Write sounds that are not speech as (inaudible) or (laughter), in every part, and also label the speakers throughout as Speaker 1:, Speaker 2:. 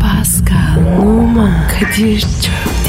Speaker 1: Pascal, Oman, Kadir çok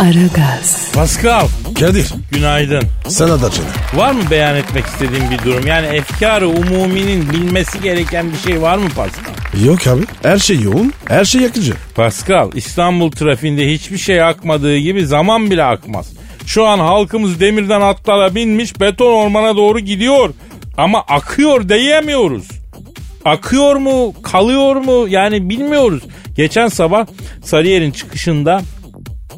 Speaker 1: Aragaz,
Speaker 2: Pascal.
Speaker 3: Kadir
Speaker 2: Günaydın.
Speaker 3: sana da canım.
Speaker 2: Var mı beyan etmek istediğim bir durum? Yani efkarı umuminin bilmesi gereken bir şey var mı Pascal?
Speaker 3: Yok abi. Her şey yoğun. Her şey yakıcı.
Speaker 2: Pascal İstanbul trafiğinde hiçbir şey akmadığı gibi zaman bile akmaz. Şu an halkımız demirden atlara binmiş beton ormana doğru gidiyor. Ama akıyor diyemiyoruz. Akıyor mu kalıyor mu yani bilmiyoruz. Geçen sabah Sarıyer'in çıkışında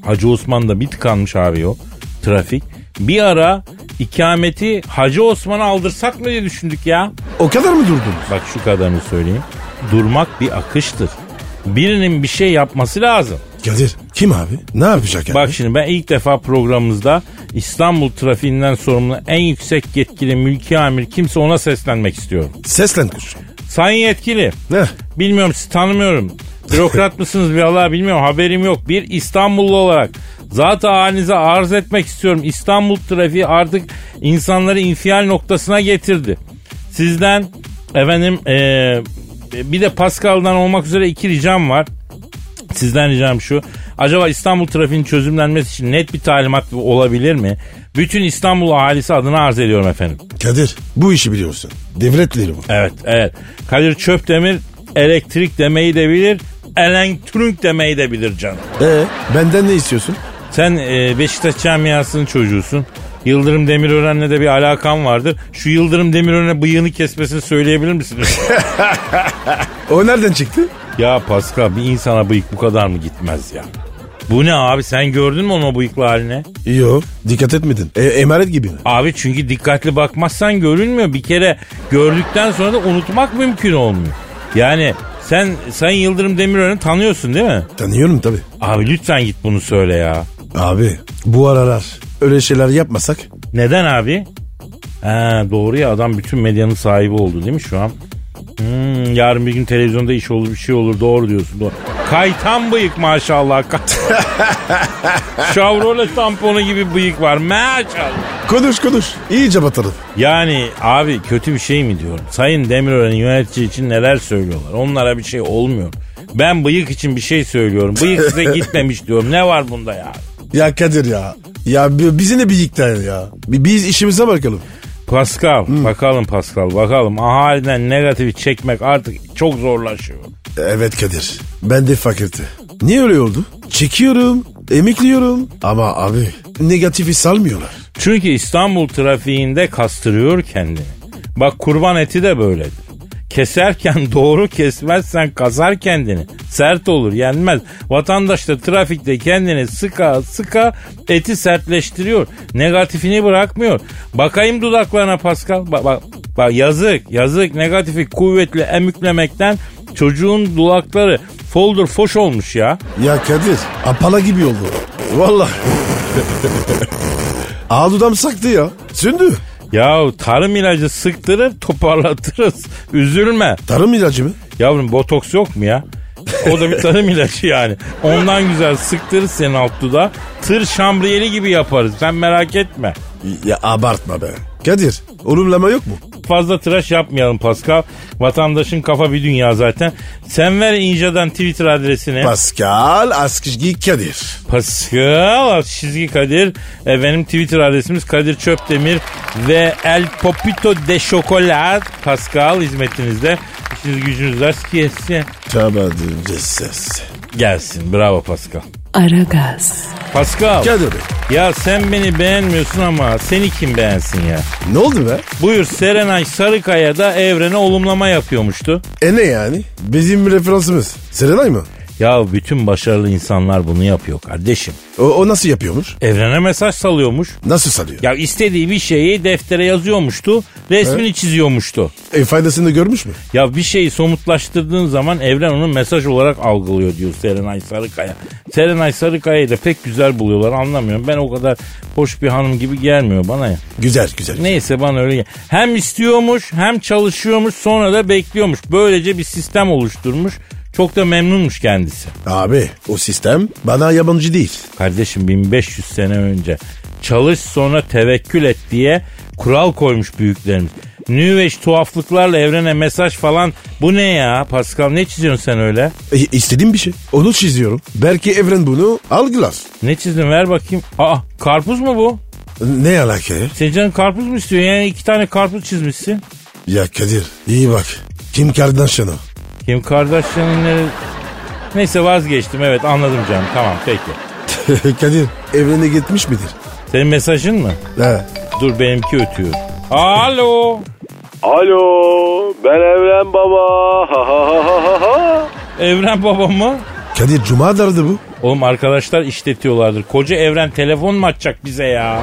Speaker 2: Hacı Osman'da bir tıkanmış abi o trafik. Bir ara ikameti Hacı Osman'a aldırsak mı diye düşündük ya.
Speaker 3: O kadar mı durdun?
Speaker 2: Bak şu kadarını söyleyeyim. Durmak bir akıştır. Birinin bir şey yapması lazım.
Speaker 3: Kadir kim abi? Ne yapacak abi?
Speaker 2: Bak şimdi ben ilk defa programımızda İstanbul trafiğinden sorumlu en yüksek yetkili mülki amir kimse ona seslenmek istiyorum.
Speaker 3: Seslen kuş.
Speaker 2: Sayın yetkili.
Speaker 3: Ne?
Speaker 2: Bilmiyorum sizi tanımıyorum. Bürokrat mısınız vallahi bilmiyorum haberim yok. Bir İstanbullu olarak zaten halinize arz etmek istiyorum. İstanbul trafiği artık insanları infial noktasına getirdi. Sizden efendim eee, bir de Pascal'dan olmak üzere iki ricam var. Sizden ricam şu. Acaba İstanbul trafiğinin çözümlenmesi için net bir talimat olabilir mi? Bütün İstanbul ahalisi adına arz ediyorum efendim.
Speaker 3: Kadir bu işi biliyorsun. Devletleri bu.
Speaker 2: Evet evet. Kadir Çöpdemir elektrik demeyi de bilir. Elektronik demeyi de bilir canım.
Speaker 3: Ee, benden ne istiyorsun?
Speaker 2: Sen e, Beşiktaş camiasının çocuğusun. Yıldırım Demirören'le de bir alakan vardır. Şu Yıldırım Demirören'e bıyığını kesmesini söyleyebilir misin?
Speaker 3: O nereden çıktı?
Speaker 2: ya Pascal bir insana bıyık bu kadar mı gitmez ya? Bu ne abi sen gördün mü onun o bıyıklı haline?
Speaker 3: Yok dikkat etmedin. E, emanet gibi mi?
Speaker 2: Abi çünkü dikkatli bakmazsan görünmüyor. Bir kere gördükten sonra da unutmak mümkün olmuyor. Yani sen Sayın Yıldırım Demirören'i tanıyorsun değil mi?
Speaker 3: Tanıyorum tabi.
Speaker 2: Abi lütfen git bunu söyle ya.
Speaker 3: Abi bu aralar öyle şeyler yapmasak
Speaker 2: Neden abi? Ha, doğru ya adam bütün medyanın sahibi oldu değil mi şu an? Hmm, yarın bir gün televizyonda iş olur bir şey olur doğru diyorsun doğru. Kaytan bıyık maşallah. (laughs) Ka- Chevrolet tamponu gibi bıyık var maşallah.
Speaker 3: konuş konuş iyice batarım.
Speaker 2: Yani abi kötü bir şey mi diyorum? Sayın Demirören yönetici için neler söylüyorlar? Onlara bir şey olmuyor. Ben bıyık için bir şey söylüyorum. Bıyık size gitmemiş diyorum. Ne var bunda ya?
Speaker 3: Ya Kadir ya. Ya bi- bizi ne bir yıktın ya. Bi- Biz işimize bakalım.
Speaker 2: Pascal bakalım Pascal bakalım ahaliden negatifi çekmek artık çok zorlaşıyor.
Speaker 3: Evet Kadir. Ben de fakirti. Niye öyle oldu? Çekiyorum, emekliyorum. Ama abi negatifi salmıyorlar.
Speaker 2: Çünkü İstanbul trafiğinde kastırıyor kendini. Bak kurban eti de böyledir. Keserken (laughs) doğru kesmezsen kasar kendini. Sert olur yenmez. Vatandaş da trafikte kendini sıka sıka eti sertleştiriyor. Negatifini bırakmıyor. Bakayım dudaklarına Pascal. Bak, bak, bak yazık yazık negatifi kuvvetli emüklemekten çocuğun dudakları folder foş olmuş ya.
Speaker 3: Ya Kadir apala gibi oldu. Vallahi. (laughs) Ağdudam saktı ya. Sündü.
Speaker 2: Yahu tarım ilacı sıktırır toparlatırız. Üzülme.
Speaker 3: Tarım ilacı mı?
Speaker 2: Yavrum botoks yok mu ya? O da bir tarım ilacı yani. Ondan güzel sıktırır senin alt dudağı. Tır şambriyeli gibi yaparız. Sen merak etme.
Speaker 3: Ya abartma be. Kadir olumlama yok mu?
Speaker 2: Fazla tıraş yapmayalım Pascal. Vatandaşın kafa bir dünya zaten. Sen ver İnca'dan Twitter adresini.
Speaker 3: Pascal Askizgi Kadir.
Speaker 2: Pascal çizgi Kadir. E, benim Twitter adresimiz Kadir Çöpdemir ve El Popito de Chocolat Pascal hizmetinizde. İşiniz gücünüz rast gelsin.
Speaker 3: Tabadır cesses.
Speaker 2: Gelsin. Bravo Pascal.
Speaker 1: Aragaz,
Speaker 2: Pascal.
Speaker 3: Kadir Bey.
Speaker 2: Ya sen beni beğenmiyorsun ama seni kim beğensin ya?
Speaker 3: Ne oldu be?
Speaker 2: Buyur Serenay Sarıkaya da evrene olumlama yapıyormuştu.
Speaker 3: E ne yani? Bizim referansımız. Serenay mı?
Speaker 2: Ya bütün başarılı insanlar bunu yapıyor kardeşim.
Speaker 3: O, o nasıl yapıyormuş?
Speaker 2: Evrene mesaj salıyormuş.
Speaker 3: Nasıl sarıyor?
Speaker 2: Ya istediği bir şeyi deftere yazıyormuştu, resmini çiziyormuştu.
Speaker 3: E, faydasını görmüş mü?
Speaker 2: Ya bir şeyi somutlaştırdığın zaman evren onu mesaj olarak algılıyor diyor Serenay Sarıkaya. Serenay Sarıkaya'yı da pek güzel buluyorlar anlamıyorum. Ben o kadar hoş bir hanım gibi gelmiyor bana ya.
Speaker 3: Güzel güzel.
Speaker 2: Neyse bana öyle gel- Hem istiyormuş hem çalışıyormuş sonra da bekliyormuş. Böylece bir sistem oluşturmuş. Çok da memnunmuş kendisi.
Speaker 3: Abi o sistem bana yabancı değil.
Speaker 2: Kardeşim 1500 sene önce çalış sonra tevekkül et diye kural koymuş büyüklerimiz. New Age tuhaflıklarla evrene mesaj falan bu ne ya Pascal ne çiziyorsun sen öyle?
Speaker 3: E, istediğim bir şey. Onu çiziyorum. Belki evren bunu algılar.
Speaker 2: Ne çizdin ver bakayım. Aa karpuz mu bu?
Speaker 3: Ne alaka ya?
Speaker 2: Senin canın karpuz mu istiyor? Yani iki tane karpuz çizmişsin.
Speaker 3: Ya Kadir iyi bak. Kim Kardashian'ı?
Speaker 2: Kim Kardashian'ın nere- Neyse vazgeçtim evet anladım canım tamam peki.
Speaker 3: (laughs) Kadir evrene gitmiş midir?
Speaker 2: Senin mesajın mı?
Speaker 3: He.
Speaker 2: Dur benimki ötüyor. Alo.
Speaker 4: Alo ben Evren Baba. Ha ha ha ha ha ha.
Speaker 2: Evren baba mı?
Speaker 3: Kadir Cuma dardı bu.
Speaker 2: Oğlum arkadaşlar işletiyorlardır. Koca evren telefon mu açacak bize ya?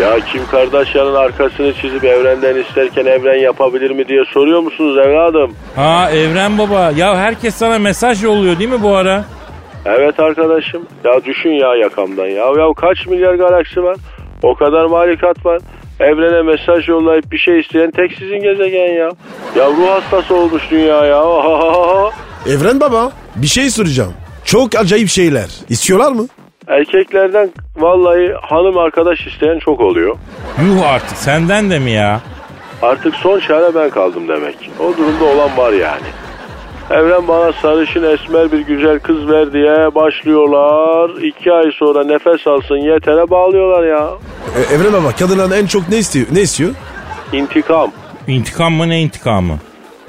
Speaker 4: Ya Kim Kardashian'ın arkasını çizip evrenden isterken evren yapabilir mi diye soruyor musunuz evladım?
Speaker 2: Ha Evren Baba. Ya herkes sana mesaj yolluyor değil mi bu ara?
Speaker 4: Evet arkadaşım. Ya düşün ya yakamdan ya. Ya kaç milyar galaksi var? O kadar malikat var. Evrene mesaj yollayıp bir şey isteyen tek sizin gezegen ya. Ya ruh hastası olmuş dünya ya. Ha ha ha ha.
Speaker 3: Evren baba bir şey soracağım. Çok acayip şeyler. İstiyorlar mı?
Speaker 4: Erkeklerden vallahi hanım arkadaş isteyen çok oluyor.
Speaker 2: Yuh artık senden de mi ya?
Speaker 4: Artık son çare ben kaldım demek. O durumda olan var yani. Evren bana sarışın esmer bir güzel kız ver diye başlıyorlar. İki ay sonra nefes alsın yetere bağlıyorlar ya.
Speaker 3: E, Evren baba kadınlar en çok ne istiyor? Ne istiyor?
Speaker 4: İntikam.
Speaker 2: İntikam mı ne intikamı?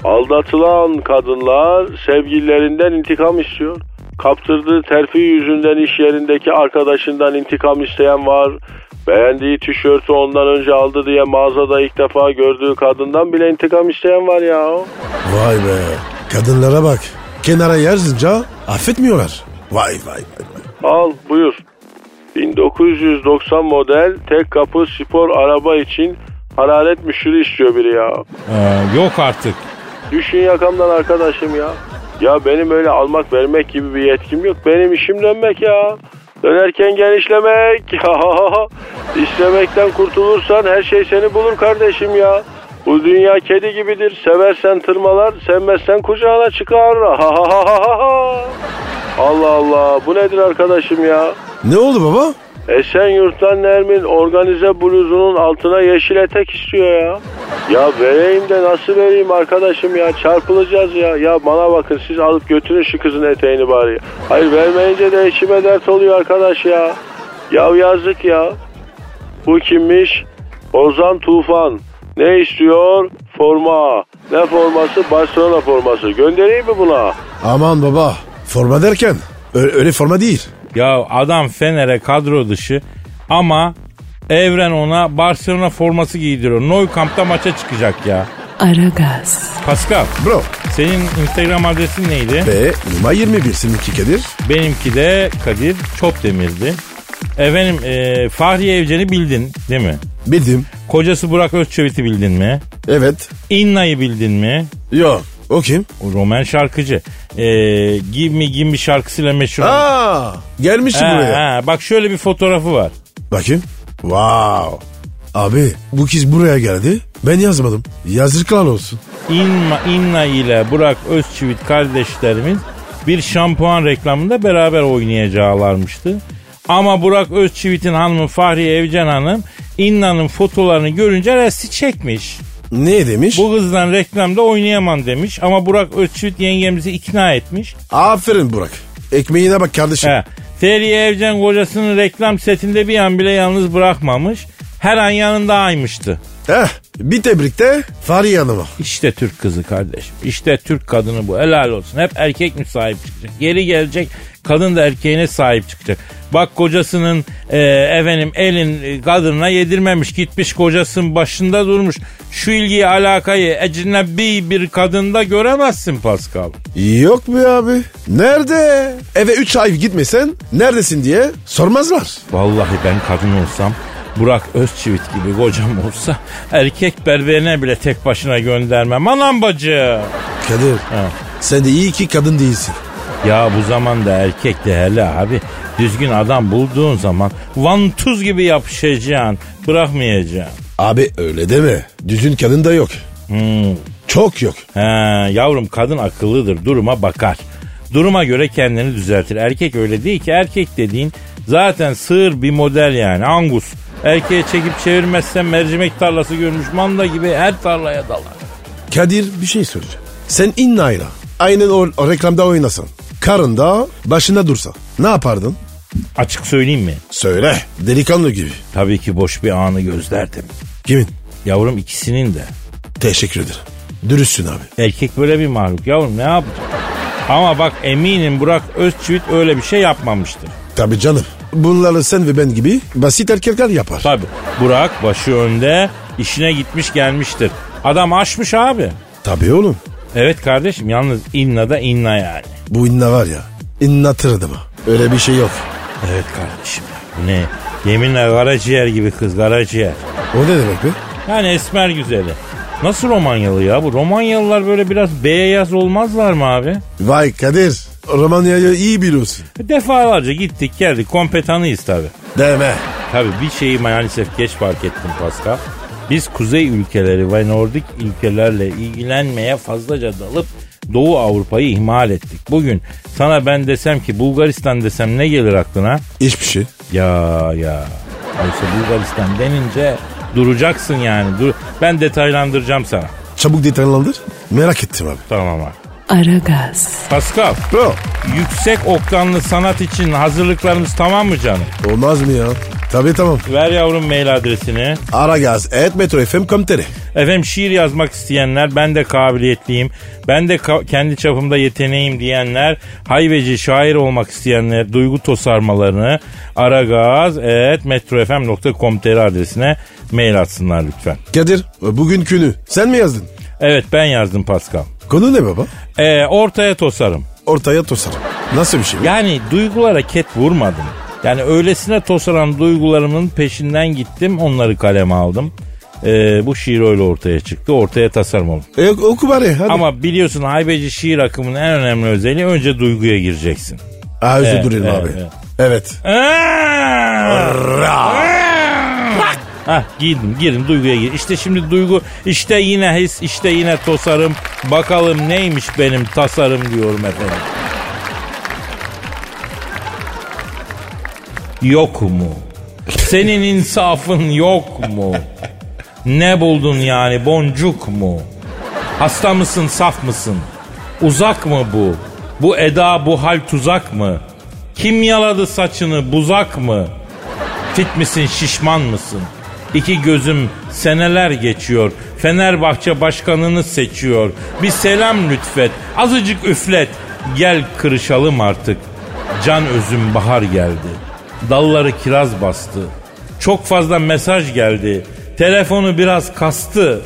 Speaker 4: Aldatılan kadınlar sevgililerinden intikam istiyor. Kaptırdığı terfi yüzünden iş yerindeki arkadaşından intikam isteyen var. Beğendiği tişörtü ondan önce aldı diye mağazada ilk defa gördüğü kadından bile intikam isteyen var ya.
Speaker 3: Vay be. Kadınlara bak. Kenara yazınca affetmiyorlar. Vay vay vay. vay.
Speaker 4: Al buyur. 1990 model tek kapı spor araba için hararet müşürü istiyor biri ya.
Speaker 2: Ee, yok artık.
Speaker 4: Düşün yakamdan arkadaşım ya. Ya benim öyle almak vermek gibi bir yetkim yok. Benim işim dönmek ya. Dönerken (laughs) genişlemek. İstemekten kurtulursan her şey seni bulur kardeşim ya. Bu dünya kedi gibidir. Seversen tırmalar, sevmezsen kucağına çıkar. (laughs) Allah Allah bu nedir arkadaşım ya?
Speaker 3: Ne oldu baba?
Speaker 4: Esenyurt'tan Nermin organize bluzunun altına yeşil etek istiyor ya. Ya vereyim de nasıl vereyim arkadaşım ya çarpılacağız ya. Ya bana bakın siz alıp götürün şu kızın eteğini bari. Hayır vermeyince de eşime dert oluyor arkadaş ya. Ya yazık ya. Bu kimmiş? Ozan Tufan. Ne istiyor? Forma. Ne forması? Barcelona forması. Göndereyim mi buna?
Speaker 3: Aman baba. Forma derken ö- öyle forma değil.
Speaker 2: Ya adam Fener'e kadro dışı ama Evren ona Barcelona forması giydiriyor. Nou Camp'ta maça çıkacak ya.
Speaker 1: Aragaz,
Speaker 2: Pascal
Speaker 3: Bro.
Speaker 2: senin Instagram adresin neydi?
Speaker 3: Ve numara 21 seninki Kadir.
Speaker 2: Benimki de Kadir Çopdemir'di. Efendim e, Fahriye Evcen'i bildin değil mi?
Speaker 3: Bildim.
Speaker 2: Kocası Burak Özçivit'i bildin mi?
Speaker 3: Evet.
Speaker 2: İnna'yı bildin mi?
Speaker 3: Yok. O kim?
Speaker 2: O Roman şarkıcı. E, give me give me şarkısıyla meşhur. Ha,
Speaker 3: Aa, gelmiş buraya.
Speaker 2: ha, bak şöyle bir fotoğrafı var.
Speaker 3: Bakayım. Wow. Abi bu kız buraya geldi. Ben yazmadım. Yazıklar olsun.
Speaker 2: İnna, İnna ile Burak Özçivit kardeşlerimiz bir şampuan reklamında beraber oynayacaklarmıştı. Ama Burak Özçivit'in hanımı Fahriye Evcen Hanım İnna'nın fotolarını görünce resti çekmiş.
Speaker 3: Ne demiş?
Speaker 2: Bu kızdan reklamda oynayamam demiş ama Burak Özçivit yengemizi ikna etmiş.
Speaker 3: Aferin Burak. Ekmeğine bak kardeşim.
Speaker 2: He. Feriye Evcen kocasının reklam setinde bir an bile yalnız bırakmamış. Her an yanında aymıştı.
Speaker 3: Heh, bir tebrikte Fahriye Hanım'a.
Speaker 2: İşte Türk kızı kardeşim. İşte Türk kadını bu. Helal olsun. Hep erkek mi sahip çıkacak? Geri gelecek kadın da erkeğine sahip çıkacak. Bak kocasının e, efendim elin e, kadınına yedirmemiş gitmiş kocasının başında durmuş. Şu ilgiyi alakayı ecnebi bir kadında göremezsin Pascal.
Speaker 3: Yok mu abi? Nerede? Eve 3 ay gitmesen neredesin diye sormazlar.
Speaker 2: Vallahi ben kadın olsam Burak Özçivit gibi kocam olsa erkek berberine bile tek başına göndermem. Anam bacı.
Speaker 3: Kadir sen de iyi ki kadın değilsin.
Speaker 2: Ya bu zamanda erkek değerli abi. Düzgün adam bulduğun zaman vantuz gibi yapışacaksın. Bırakmayacaksın.
Speaker 3: Abi öyle deme. Düzün kadın da yok. Çok yok.
Speaker 2: He, yavrum kadın akıllıdır duruma bakar. Duruma göre kendini düzeltir. Erkek öyle değil ki erkek dediğin zaten sığır bir model yani angus. Erkeğe çekip çevirmezsen mercimek tarlası görmüş manda gibi her tarlaya dalar.
Speaker 3: Kadir bir şey soracağım. Sen İnna'yla aynen o, o reklamda oynasan. Karın da başında dursa. Ne yapardın?
Speaker 2: Açık söyleyeyim mi?
Speaker 3: Söyle. Delikanlı gibi.
Speaker 2: Tabii ki boş bir anı gözlerdim.
Speaker 3: Kimin?
Speaker 2: Yavrum ikisinin de.
Speaker 3: Teşekkür ederim. Dürüstsün abi.
Speaker 2: Erkek böyle bir mahluk yavrum ne yapacak? Ama bak eminim Burak Özçivit öyle bir şey yapmamıştır.
Speaker 3: Tabii canım. Bunları sen ve ben gibi basit erkekler yapar.
Speaker 2: Tabi Burak başı önde işine gitmiş gelmiştir. Adam aşmış abi.
Speaker 3: Tabii oğlum.
Speaker 2: Evet kardeşim yalnız inna da inna yani.
Speaker 3: Bu inna var ya. İnnatır adamı. Öyle bir şey yok.
Speaker 2: Evet kardeşim. Bu ne? Yeminle karaciğer gibi kız karaciğer.
Speaker 3: O ne demek be?
Speaker 2: Yani esmer güzeli. Nasıl Romanyalı ya bu? Romanyalılar böyle biraz beyaz olmazlar mı abi?
Speaker 3: Vay Kadir. Romanya'yı iyi biliyorsun.
Speaker 2: Defalarca gittik geldik kompetanıyız tabi.
Speaker 3: Deme.
Speaker 2: Tabi bir şeyi maalesef geç fark ettim Pascal. Biz kuzey ülkeleri ve Nordik ülkelerle ilgilenmeye fazlaca dalıp Doğu Avrupa'yı ihmal ettik. Bugün sana ben desem ki Bulgaristan desem ne gelir aklına?
Speaker 3: Hiçbir şey.
Speaker 2: Ya ya. Oysa Bulgaristan denince duracaksın yani. Dur. Ben detaylandıracağım sana.
Speaker 3: Çabuk detaylandır. Merak ettim abi.
Speaker 2: Tamam abi.
Speaker 1: Aragaz,
Speaker 2: Pascal,
Speaker 3: Bro.
Speaker 2: yüksek oktanlı sanat için hazırlıklarımız tamam mı canım?
Speaker 3: Olmaz mı ya? Tabii tamam.
Speaker 2: Ver yavrum mail adresini.
Speaker 3: Aragaz et metrofm.com.tr
Speaker 2: Efendim şiir yazmak isteyenler ben de kabiliyetliyim. Ben de ka- kendi çapımda yeteneğim diyenler hayveci şair olmak isteyenler duygu tosarmalarını aragaz.metrofm.com.tr adresine mail atsınlar lütfen.
Speaker 3: Kadir bugün günü sen mi yazdın?
Speaker 2: Evet ben yazdım Pascal.
Speaker 3: Konu ne baba?
Speaker 2: Ee, ortaya tosarım.
Speaker 3: Ortaya tosar. Nasıl bir şey? bu?
Speaker 2: Yani duygulara ket vurmadım. Yani öylesine tosaran duygularımın peşinden gittim onları kaleme aldım. Ee, bu şiir öyle ortaya çıktı. Ortaya tasarım oldu.
Speaker 3: E, oku bari hadi.
Speaker 2: Ama biliyorsun haybeci şiir akımının en önemli özelliği önce duyguya gireceksin. Ee!
Speaker 3: Aa, özür
Speaker 2: Evet,
Speaker 3: dilerim
Speaker 2: evet,
Speaker 3: abi.
Speaker 2: evet.
Speaker 3: Evet.
Speaker 2: Ee! Ha girdim girdim duyguya gir. İşte şimdi duygu işte yine his işte yine tosarım. Bakalım neymiş benim tasarım diyorum efendim. Yok mu? Senin insafın yok mu? Ne buldun yani boncuk mu? Hasta mısın saf mısın? Uzak mı bu? Bu eda bu hal tuzak mı? Kim yaladı saçını buzak mı? Fit misin şişman mısın? İki gözüm seneler geçiyor. Fenerbahçe başkanını seçiyor. Bir selam lütfet. Azıcık üflet. Gel kırışalım artık. Can özüm bahar geldi. Dalları kiraz bastı. Çok fazla mesaj geldi. Telefonu biraz kastı.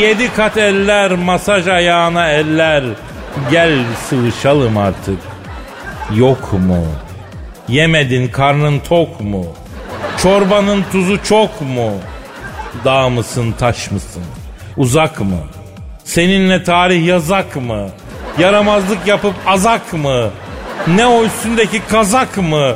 Speaker 2: Yedi kat eller masaj ayağına eller. Gel sıvışalım artık. Yok mu? Yemedin karnın tok mu? Çorbanın tuzu çok mu? Dağ mısın taş mısın? Uzak mı? Seninle tarih yazak mı? Yaramazlık yapıp azak mı? Ne o üstündeki kazak mı?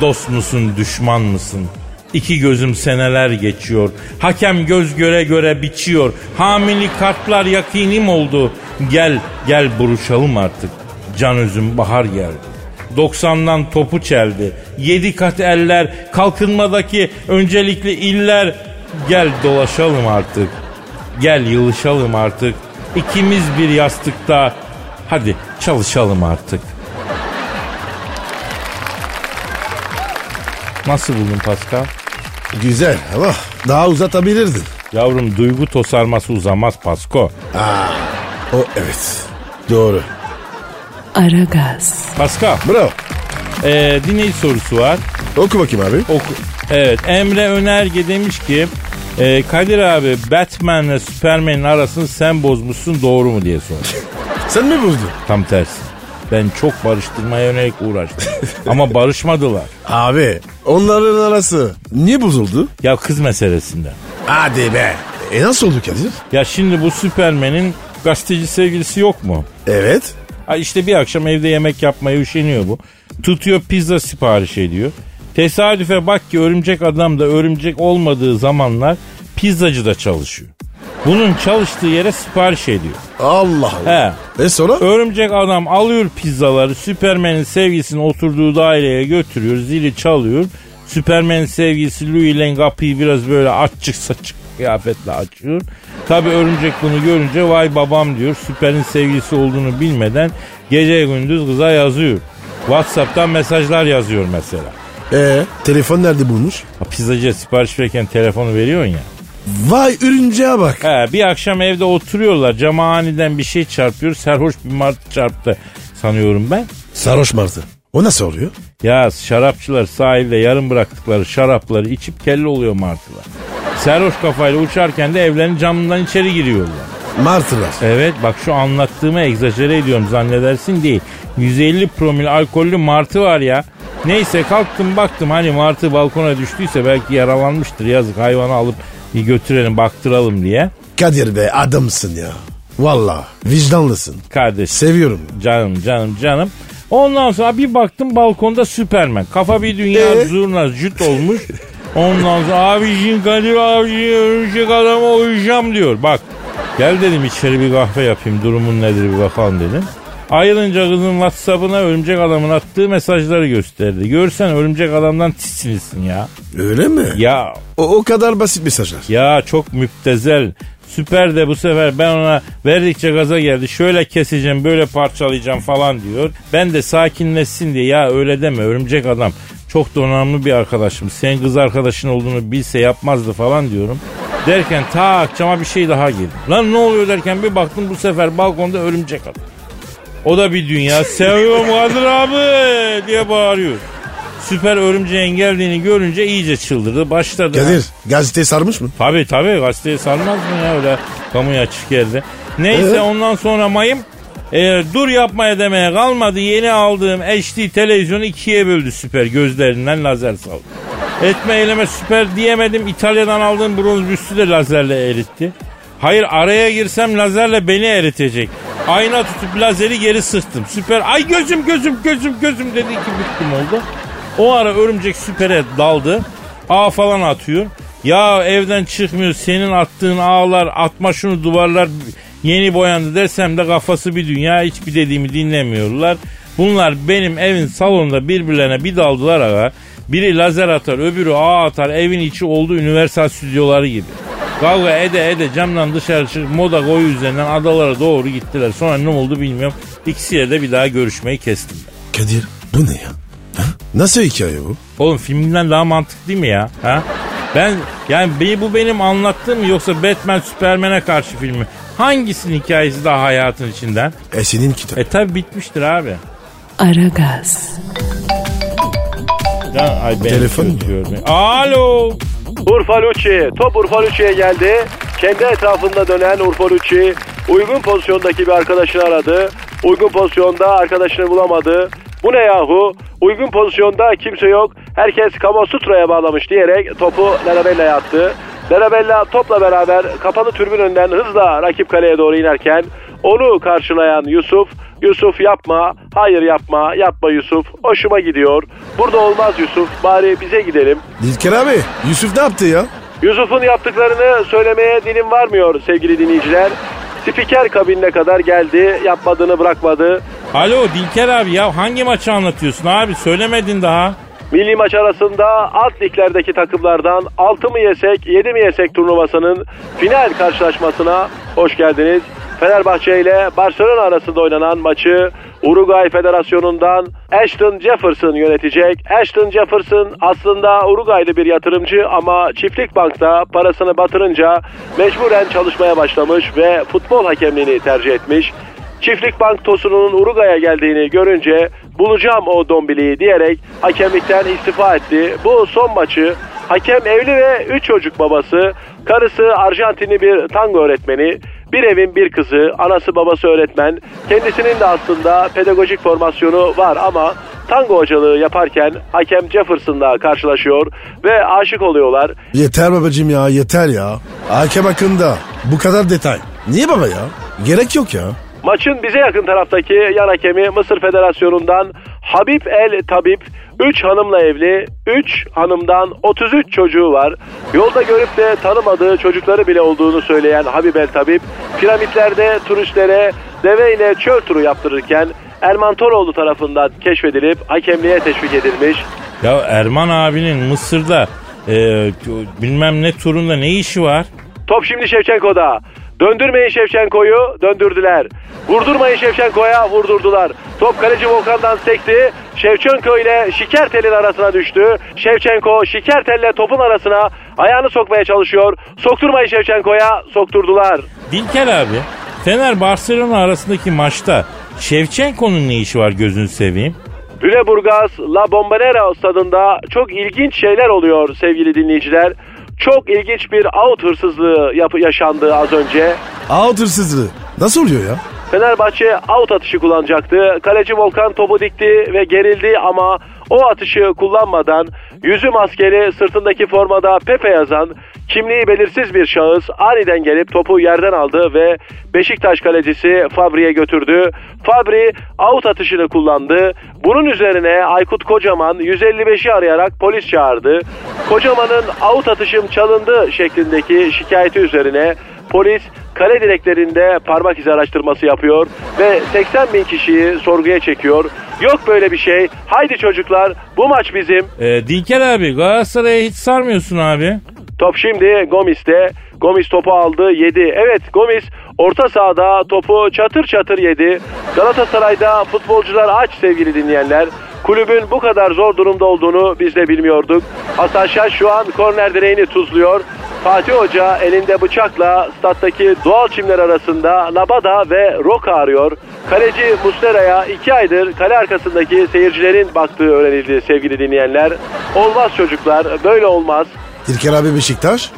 Speaker 2: Dost musun düşman mısın? İki gözüm seneler geçiyor. Hakem göz göre göre biçiyor. Hamili kartlar yakinim oldu. Gel gel buruşalım artık. Can özüm bahar geldi. 90'dan topu çeldi. 7 kat eller, kalkınmadaki öncelikli iller. Gel dolaşalım artık. Gel yılışalım artık. İkimiz bir yastıkta. Hadi çalışalım artık. Nasıl buldun Pascal?
Speaker 3: Güzel ama daha uzatabilirdin.
Speaker 2: Yavrum duygu tosarması uzamaz Pasko.
Speaker 3: O evet. Doğru.
Speaker 1: Aragaz,
Speaker 2: Pascal
Speaker 3: Bravo.
Speaker 2: Ee, dinleyici sorusu var.
Speaker 3: Oku bakayım abi.
Speaker 2: Oku- Evet Emre Önerge demiş ki e, Kadir abi Batman'le Superman'in arasını sen bozmuşsun doğru mu diye sormuş.
Speaker 3: Sen mi bozdun?
Speaker 2: Tam tersi. Ben çok barıştırmaya yönelik uğraştım. Ama barışmadılar.
Speaker 3: Abi onların arası niye bozuldu?
Speaker 2: Ya kız meselesinden.
Speaker 3: Hadi be. E nasıl oldu Kadir?
Speaker 2: Ya şimdi bu Süpermen'in gazeteci sevgilisi yok mu?
Speaker 3: Evet.
Speaker 2: Ha işte bir akşam evde yemek yapmaya üşeniyor bu. Tutuyor pizza sipariş ediyor. Tesadüfe bak ki örümcek adam da örümcek olmadığı zamanlar pizzacı da çalışıyor. Bunun çalıştığı yere sipariş ediyor.
Speaker 3: Allah Allah.
Speaker 2: He.
Speaker 3: E sonra?
Speaker 2: Örümcek adam alıyor pizzaları Süpermen'in sevgisini oturduğu daireye götürüyor zili çalıyor. Süpermen'in sevgisi Louis Lane kapıyı biraz böyle açık saçık kıyafetle açıyor. Tabi örümcek bunu görünce vay babam diyor Süper'in sevgisi olduğunu bilmeden gece gündüz kıza yazıyor. Whatsapp'tan mesajlar yazıyor mesela.
Speaker 3: E telefon nerede bulmuş?
Speaker 2: Ha, Pizzacıya sipariş verirken telefonu veriyorsun ya.
Speaker 3: Vay örümceğe bak.
Speaker 2: He, bir akşam evde oturuyorlar cama aniden bir şey çarpıyor serhoş bir martı çarptı sanıyorum ben.
Speaker 3: Sarhoş martı. O nasıl oluyor?
Speaker 2: Ya şarapçılar sahilde yarım bıraktıkları şarapları içip kelle oluyor martılar. Serhoş kafayla uçarken de evlerin camından içeri giriyorlar.
Speaker 3: Martılar.
Speaker 2: Evet bak şu anlattığımı egzajere ediyorum zannedersin değil. 150 promil alkollü martı var ya. Neyse kalktım baktım hani martı balkona düştüyse belki yaralanmıştır yazık hayvanı alıp bir götürelim baktıralım diye.
Speaker 3: Kadir be adamsın ya. Valla vicdanlısın.
Speaker 2: Kardeş
Speaker 3: Seviyorum.
Speaker 2: Canım canım canım. Ondan sonra bir baktım balkonda Süpermen. Kafa bir dünya
Speaker 3: Ee?
Speaker 2: zurna jüt olmuş. Ondan sonra abicim Kadir abici örümcek adama uyuyacağım diyor. Bak gel dedim içeri bir kahve yapayım durumun nedir bir bakalım dedim. Ayrılınca kızın Whatsapp'ına örümcek adamın attığı mesajları gösterdi. Görsen örümcek adamdan tiksinirsin ya.
Speaker 3: Öyle mi?
Speaker 2: Ya
Speaker 3: O, o kadar basit mesajlar.
Speaker 2: ya çok müptezel. Süper de bu sefer ben ona verdikçe gaza geldi. Şöyle keseceğim, böyle parçalayacağım falan diyor. Ben de sakinleşsin diye ya öyle deme örümcek adam. Çok donanımlı bir arkadaşım. Sen kız arkadaşın olduğunu bilse yapmazdı falan diyorum. Derken ta akşama bir şey daha geldi. Lan ne oluyor derken bir baktım bu sefer balkonda örümcek adam. O da bir dünya seviyorum Kadir abi diye bağırıyor. Süper örümceğin geldiğini görünce iyice çıldırdı. Başladı.
Speaker 3: Kadir gazete sarmış mı?
Speaker 2: Tabii tabii gazeteye sarmaz mı ya öyle kamuya açık yerde. Neyse
Speaker 3: Ee?
Speaker 2: ondan sonra mayım e, dur yapmaya demeye kalmadı. Yeni aldığım HD televizyonu ikiye böldü süper gözlerinden lazer saldı. Etme eyleme süper diyemedim. İtalya'dan aldığım bronz büstü de lazerle eritti. Hayır araya girsem lazerle beni eritecek. Ayna tutup lazeri geri sıktım. Süper ay gözüm gözüm gözüm gözüm dedi ki büktüm oldu. O ara örümcek süpere daldı. Ağ falan atıyor. Ya evden çıkmıyor senin attığın ağlar atma şunu duvarlar yeni boyandı dersem de kafası bir dünya hiçbir dediğimi dinlemiyorlar. Bunlar benim evin salonunda birbirlerine bir daldılar aga. Biri lazer atar öbürü ağ atar evin içi olduğu üniversal stüdyoları gibi. Kavga ede ede camdan dışarı çıkıp moda koyu üzerinden adalara doğru gittiler. Sonra ne oldu bilmiyorum. İkisiyle de bir daha görüşmeyi kestim. ben.
Speaker 3: Kadir bu ne ya? Ha? Nasıl hikaye bu?
Speaker 2: Oğlum filminden daha mantıklı değil mi ya? Ha? Ben yani be- bu benim anlattığım mı yoksa Batman Superman'e karşı filmi. Hangisinin hikayesi daha hayatın içinden?
Speaker 3: E senin kitap.
Speaker 2: E tabi bitmiştir abi.
Speaker 1: Aragaz,
Speaker 2: Ya, ay ben
Speaker 3: Telefon mu?
Speaker 2: çözüyorum. Alo.
Speaker 4: Urfalucci. Top Urfalucci'ye geldi. Kendi etrafında dönen Urfalucci uygun pozisyondaki bir arkadaşını aradı. Uygun pozisyonda arkadaşını bulamadı. Bu ne yahu? Uygun pozisyonda kimse yok. Herkes Kamasutra'ya bağlamış diyerek topu Larabella'ya attı. Larabella topla beraber kapalı türbün önünden hızla rakip kaleye doğru inerken onu karşılayan Yusuf, Yusuf yapma, hayır yapma, yapma Yusuf, hoşuma gidiyor. Burada olmaz Yusuf, bari bize gidelim.
Speaker 3: Dilker abi Yusuf ne yaptı ya?
Speaker 4: Yusuf'un yaptıklarını söylemeye dilim varmıyor sevgili dinleyiciler. Spiker kabinine kadar geldi, yapmadığını bırakmadı.
Speaker 2: Alo Dilker abi ya hangi maçı anlatıyorsun abi? Söylemedin daha.
Speaker 4: Milli maç arasında alt liglerdeki takımlardan 6 mı yesek 7 mi yesek turnuvasının final karşılaşmasına hoş geldiniz. Fenerbahçe ile Barcelona arasında oynanan maçı Uruguay Federasyonu'ndan Ashton Jefferson yönetecek. Ashton Jefferson aslında Uruguaylı bir yatırımcı ama çiftlik bankta parasını batırınca mecburen çalışmaya başlamış ve futbol hakemliğini tercih etmiş. Çiftlik Bank Tosu'nun Uruguay'a geldiğini görünce bulacağım o dombiliyi diyerek hakemlikten istifa etti. Bu son maçı hakem evli ve 3 çocuk babası, karısı Arjantinli bir tango öğretmeni, bir evin bir kızı, anası babası öğretmen, kendisinin de aslında pedagojik formasyonu var ama tango hocalığı yaparken hakem Jefferson'la karşılaşıyor ve aşık oluyorlar.
Speaker 3: Yeter babacığım ya yeter ya. Hakem hakkında bu kadar detay. Niye baba ya? Gerek yok ya.
Speaker 4: Maçın bize yakın taraftaki yan hakemi Mısır Federasyonu'ndan Habib El Tabip 3 hanımla evli, 3 hanımdan 33 çocuğu var. Yolda görüp de tanımadığı çocukları bile olduğunu söyleyen Habib El Tabip, piramitlerde turistlere deve ile çöl turu yaptırırken Erman Toroğlu tarafından keşfedilip hakemliğe teşvik edilmiş.
Speaker 2: Ya Erman abinin Mısır'da e, bilmem ne turunda ne işi var?
Speaker 4: Top şimdi Şevçenko'da. Döndürmeyin Şevçenko'yu döndürdüler. Vurdurmayın Şevçenko'ya vurdurdular. Top kaleci Volkan'dan sekti. Şevçenko ile Şikertel'in arasına düştü. Şevçenko Şikertel'le topun arasına ayağını sokmaya çalışıyor. Sokturmayın Şevçenko'ya sokturdular.
Speaker 2: Dilker abi Fener Barcelona arasındaki maçta Şevçenko'nun ne işi var gözünü seveyim?
Speaker 4: Lüleburgaz La Bombonera stadında çok ilginç şeyler oluyor sevgili dinleyiciler. Çok ilginç bir out hırsızlığı yap- yaşandı az önce.
Speaker 3: Out hırsızlığı. Nasıl oluyor ya?
Speaker 4: Fenerbahçe out atışı kullanacaktı. Kaleci Volkan topu dikti ve gerildi ama o atışı kullanmadan yüzü maskeli sırtındaki formada Pepe yazan kimliği belirsiz bir şahıs aniden gelip topu yerden aldı ve Beşiktaş kalecisi Fabri'ye götürdü. Fabri out atışını kullandı. Bunun üzerine Aykut Kocaman 155'i arayarak polis çağırdı. Kocaman'ın out atışım çalındı şeklindeki şikayeti üzerine polis kale direklerinde parmak izi araştırması yapıyor ve 80 bin kişiyi sorguya çekiyor. Yok böyle bir şey. Haydi çocuklar bu maç bizim.
Speaker 2: E, Dilker abi Galatasaray'a hiç sarmıyorsun abi.
Speaker 4: Top şimdi Gomis'te. Gomis topu aldı yedi. Evet Gomis orta sahada topu çatır çatır yedi. Galatasaray'da futbolcular aç sevgili dinleyenler. Kulübün bu kadar zor durumda olduğunu biz de bilmiyorduk. Hasan Şaş şu an korner direğini tuzluyor. Fatih Hoca elinde bıçakla stattaki doğal çimler arasında Labada ve Roka arıyor. Kaleci Muslera'ya iki aydır kale arkasındaki seyircilerin baktığı öğrenildi sevgili dinleyenler. Olmaz çocuklar böyle olmaz.
Speaker 3: İlker abi Beşiktaş.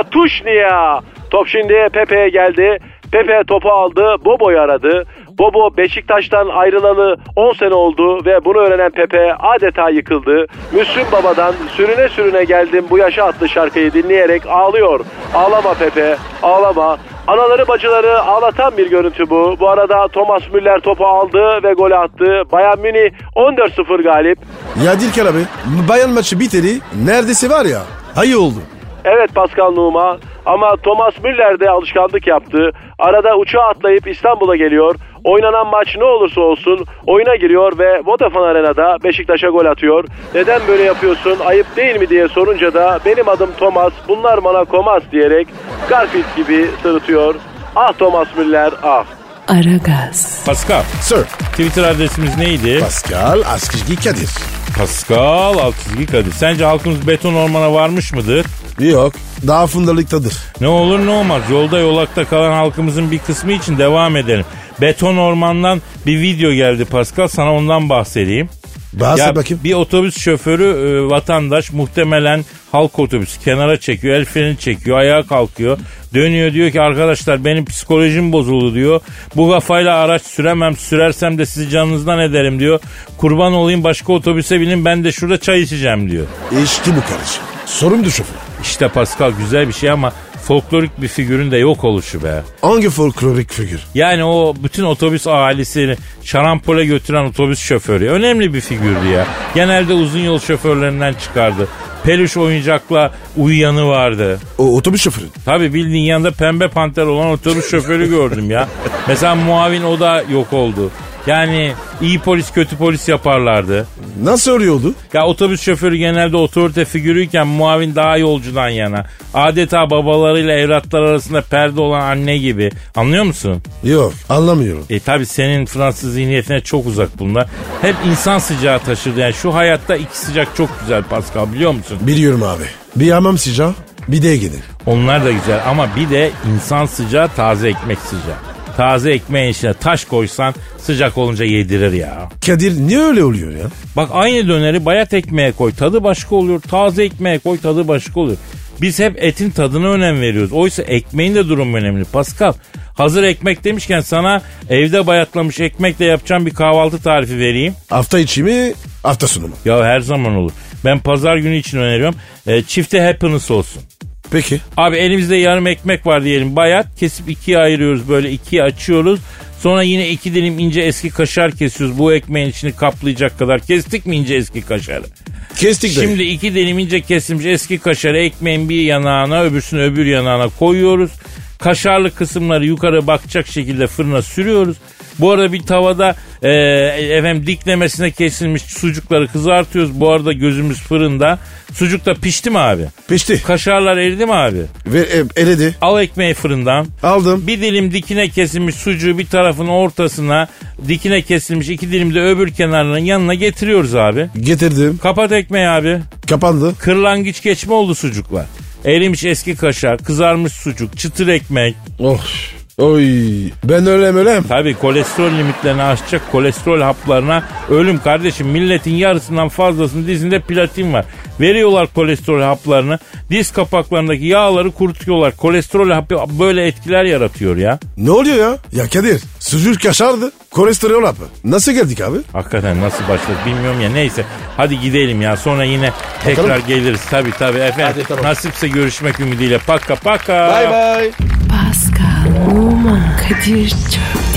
Speaker 4: Zapatuşnia. Top şimdi Pepe'ye geldi. Pepe topu aldı. Bobo'yu aradı. Bobo Beşiktaş'tan ayrılalı 10 sene oldu ve bunu öğrenen Pepe adeta yıkıldı. Müslüm Baba'dan sürüne sürüne geldim bu yaşa adlı şarkıyı dinleyerek ağlıyor. Ağlama Pepe, ağlama. Anaları bacıları ağlatan bir görüntü bu. Bu arada Thomas Müller topu aldı ve gol attı. Bayern Münih 14-0 galip.
Speaker 3: Ya Dilker abi bayan maçı biteli neredeyse var ya. Hayır oldu.
Speaker 4: Evet Pascal Numa ama Thomas Müller de alışkanlık yaptı. Arada uçağa atlayıp İstanbul'a geliyor. Oynanan maç ne olursa olsun oyuna giriyor ve Vodafone Arena'da Beşiktaş'a gol atıyor. Neden böyle yapıyorsun ayıp değil mi diye sorunca da benim adım Thomas bunlar bana Komas diyerek Garfield gibi sırıtıyor. Ah Thomas Müller ah.
Speaker 1: Aragaz.
Speaker 2: Pascal
Speaker 3: Sir.
Speaker 2: Twitter adresimiz neydi?
Speaker 3: Pascal Askizgi Kadir.
Speaker 2: Pascal alt çizgi Kadir. Sence halkımız beton ormana varmış mıdır?
Speaker 3: Yok. Daha fundalıktadır.
Speaker 2: Ne olur ne olmaz. Yolda yolakta kalan halkımızın bir kısmı için devam edelim. Beton Orman'dan bir video geldi Pascal. Sana ondan bahsedeyim.
Speaker 3: Bahset bakayım.
Speaker 2: Bir otobüs şoförü e, vatandaş muhtemelen halk otobüsü kenara çekiyor. El freni çekiyor. Ayağa kalkıyor. Dönüyor diyor ki arkadaşlar benim psikolojim bozuldu diyor. Bu kafayla araç süremem. Sürersem de sizi canınızdan ederim diyor. Kurban olayım başka otobüse binin ben de şurada çay içeceğim diyor.
Speaker 3: İşte bu kardeşim. Sorun da şoför.
Speaker 2: İşte Pascal güzel bir şey ama folklorik bir figürün de yok oluşu be.
Speaker 3: Hangi folklorik figür?
Speaker 2: Yani o bütün otobüs ailesini şarampole götüren otobüs şoförü. Önemli bir figürdü ya. Genelde uzun yol şoförlerinden çıkardı. Peluş oyuncakla uyuyanı vardı.
Speaker 3: O otobüs şoförü.
Speaker 2: Tabi bildiğin yanında pembe panter olan otobüs şoförü gördüm ya. Mesela muavin o da yok oldu. Yani iyi polis kötü polis yaparlardı.
Speaker 3: Nasıl örüyordu?
Speaker 2: Ya otobüs şoförü genelde otorite figürüyken muavin daha yolcudan yana. Adeta babalarıyla evlatlar arasında perde olan anne gibi. Anlıyor musun?
Speaker 3: Yok anlamıyorum.
Speaker 2: E tabi senin Fransız zihniyetine çok uzak bunlar. Hep insan sıcağı taşırdı. Yani şu hayatta iki sıcak çok güzel Pascal biliyor musun?
Speaker 3: Biliyorum abi. Bir hamam sıcağı bir de Ege'nin.
Speaker 2: Onlar da güzel ama bir de insan sıcağı taze ekmek sıcağı. Taze ekmeğin içine taş koysan sıcak olunca yedirir ya.
Speaker 3: Kadir niye öyle oluyor ya?
Speaker 2: Bak aynı döneri bayat ekmeğe koy tadı başka oluyor. Taze ekmeğe koy tadı başka oluyor. Biz hep etin tadına önem veriyoruz. Oysa ekmeğin de durumu önemli Pascal. Hazır ekmek demişken sana evde bayatlamış ekmekle yapacağım bir kahvaltı tarifi vereyim.
Speaker 3: Hafta içi mi hafta sonu mu?
Speaker 2: Ya her zaman olur. Ben pazar günü için öneriyorum. E, çifte happiness olsun.
Speaker 3: Peki.
Speaker 2: Abi elimizde yarım ekmek var diyelim bayat. Kesip ikiye ayırıyoruz böyle ikiye açıyoruz. Sonra yine iki dilim ince eski kaşar kesiyoruz. Bu ekmeğin içini kaplayacak kadar kestik mi ince eski kaşarı?
Speaker 3: Kestik de.
Speaker 2: Şimdi iki dilim ince kesilmiş eski kaşarı ekmeğin bir yanağına öbürsünü öbür yanağına koyuyoruz. Kaşarlı kısımları yukarı bakacak şekilde fırına sürüyoruz. Bu arada bir tavada e, efendim diklemesine kesilmiş sucukları kızartıyoruz. Bu arada gözümüz fırında. Sucuk da pişti mi abi?
Speaker 3: Pişti.
Speaker 2: Kaşarlar eridi mi abi?
Speaker 3: Ve e, eledi.
Speaker 2: Al ekmeği fırından.
Speaker 3: Aldım.
Speaker 2: Bir dilim dikine kesilmiş sucuğu bir tarafın ortasına, dikine kesilmiş iki dilim de öbür kenarının yanına getiriyoruz abi.
Speaker 3: Getirdim.
Speaker 2: Kapat ekmeği abi.
Speaker 3: Kapandı.
Speaker 2: Kırlangıç geçme oldu sucuklar. Erimiş eski kaşar, kızarmış sucuk, çıtır ekmek.
Speaker 3: Oh. Oy. Ben ölem ölem.
Speaker 2: Tabii kolesterol limitlerini aşacak kolesterol haplarına ölüm kardeşim. Milletin yarısından fazlasının dizinde platin var. Veriyorlar kolesterol haplarını. Diz kapaklarındaki yağları kurutuyorlar. Kolesterol hapı böyle etkiler yaratıyor ya.
Speaker 3: Ne oluyor ya? Ya Kadir. Sucuk kaşardı. Kolesterol hapı. Nasıl geldik abi?
Speaker 2: Hakikaten nasıl başladı bilmiyorum ya neyse. Hadi gidelim ya sonra yine tekrar geliriz. Tabii tabii efendim. Nasipse görüşmek ümidiyle. Paka paka.
Speaker 1: Pascal, Oman, Kadir çok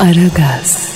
Speaker 1: Aragaz.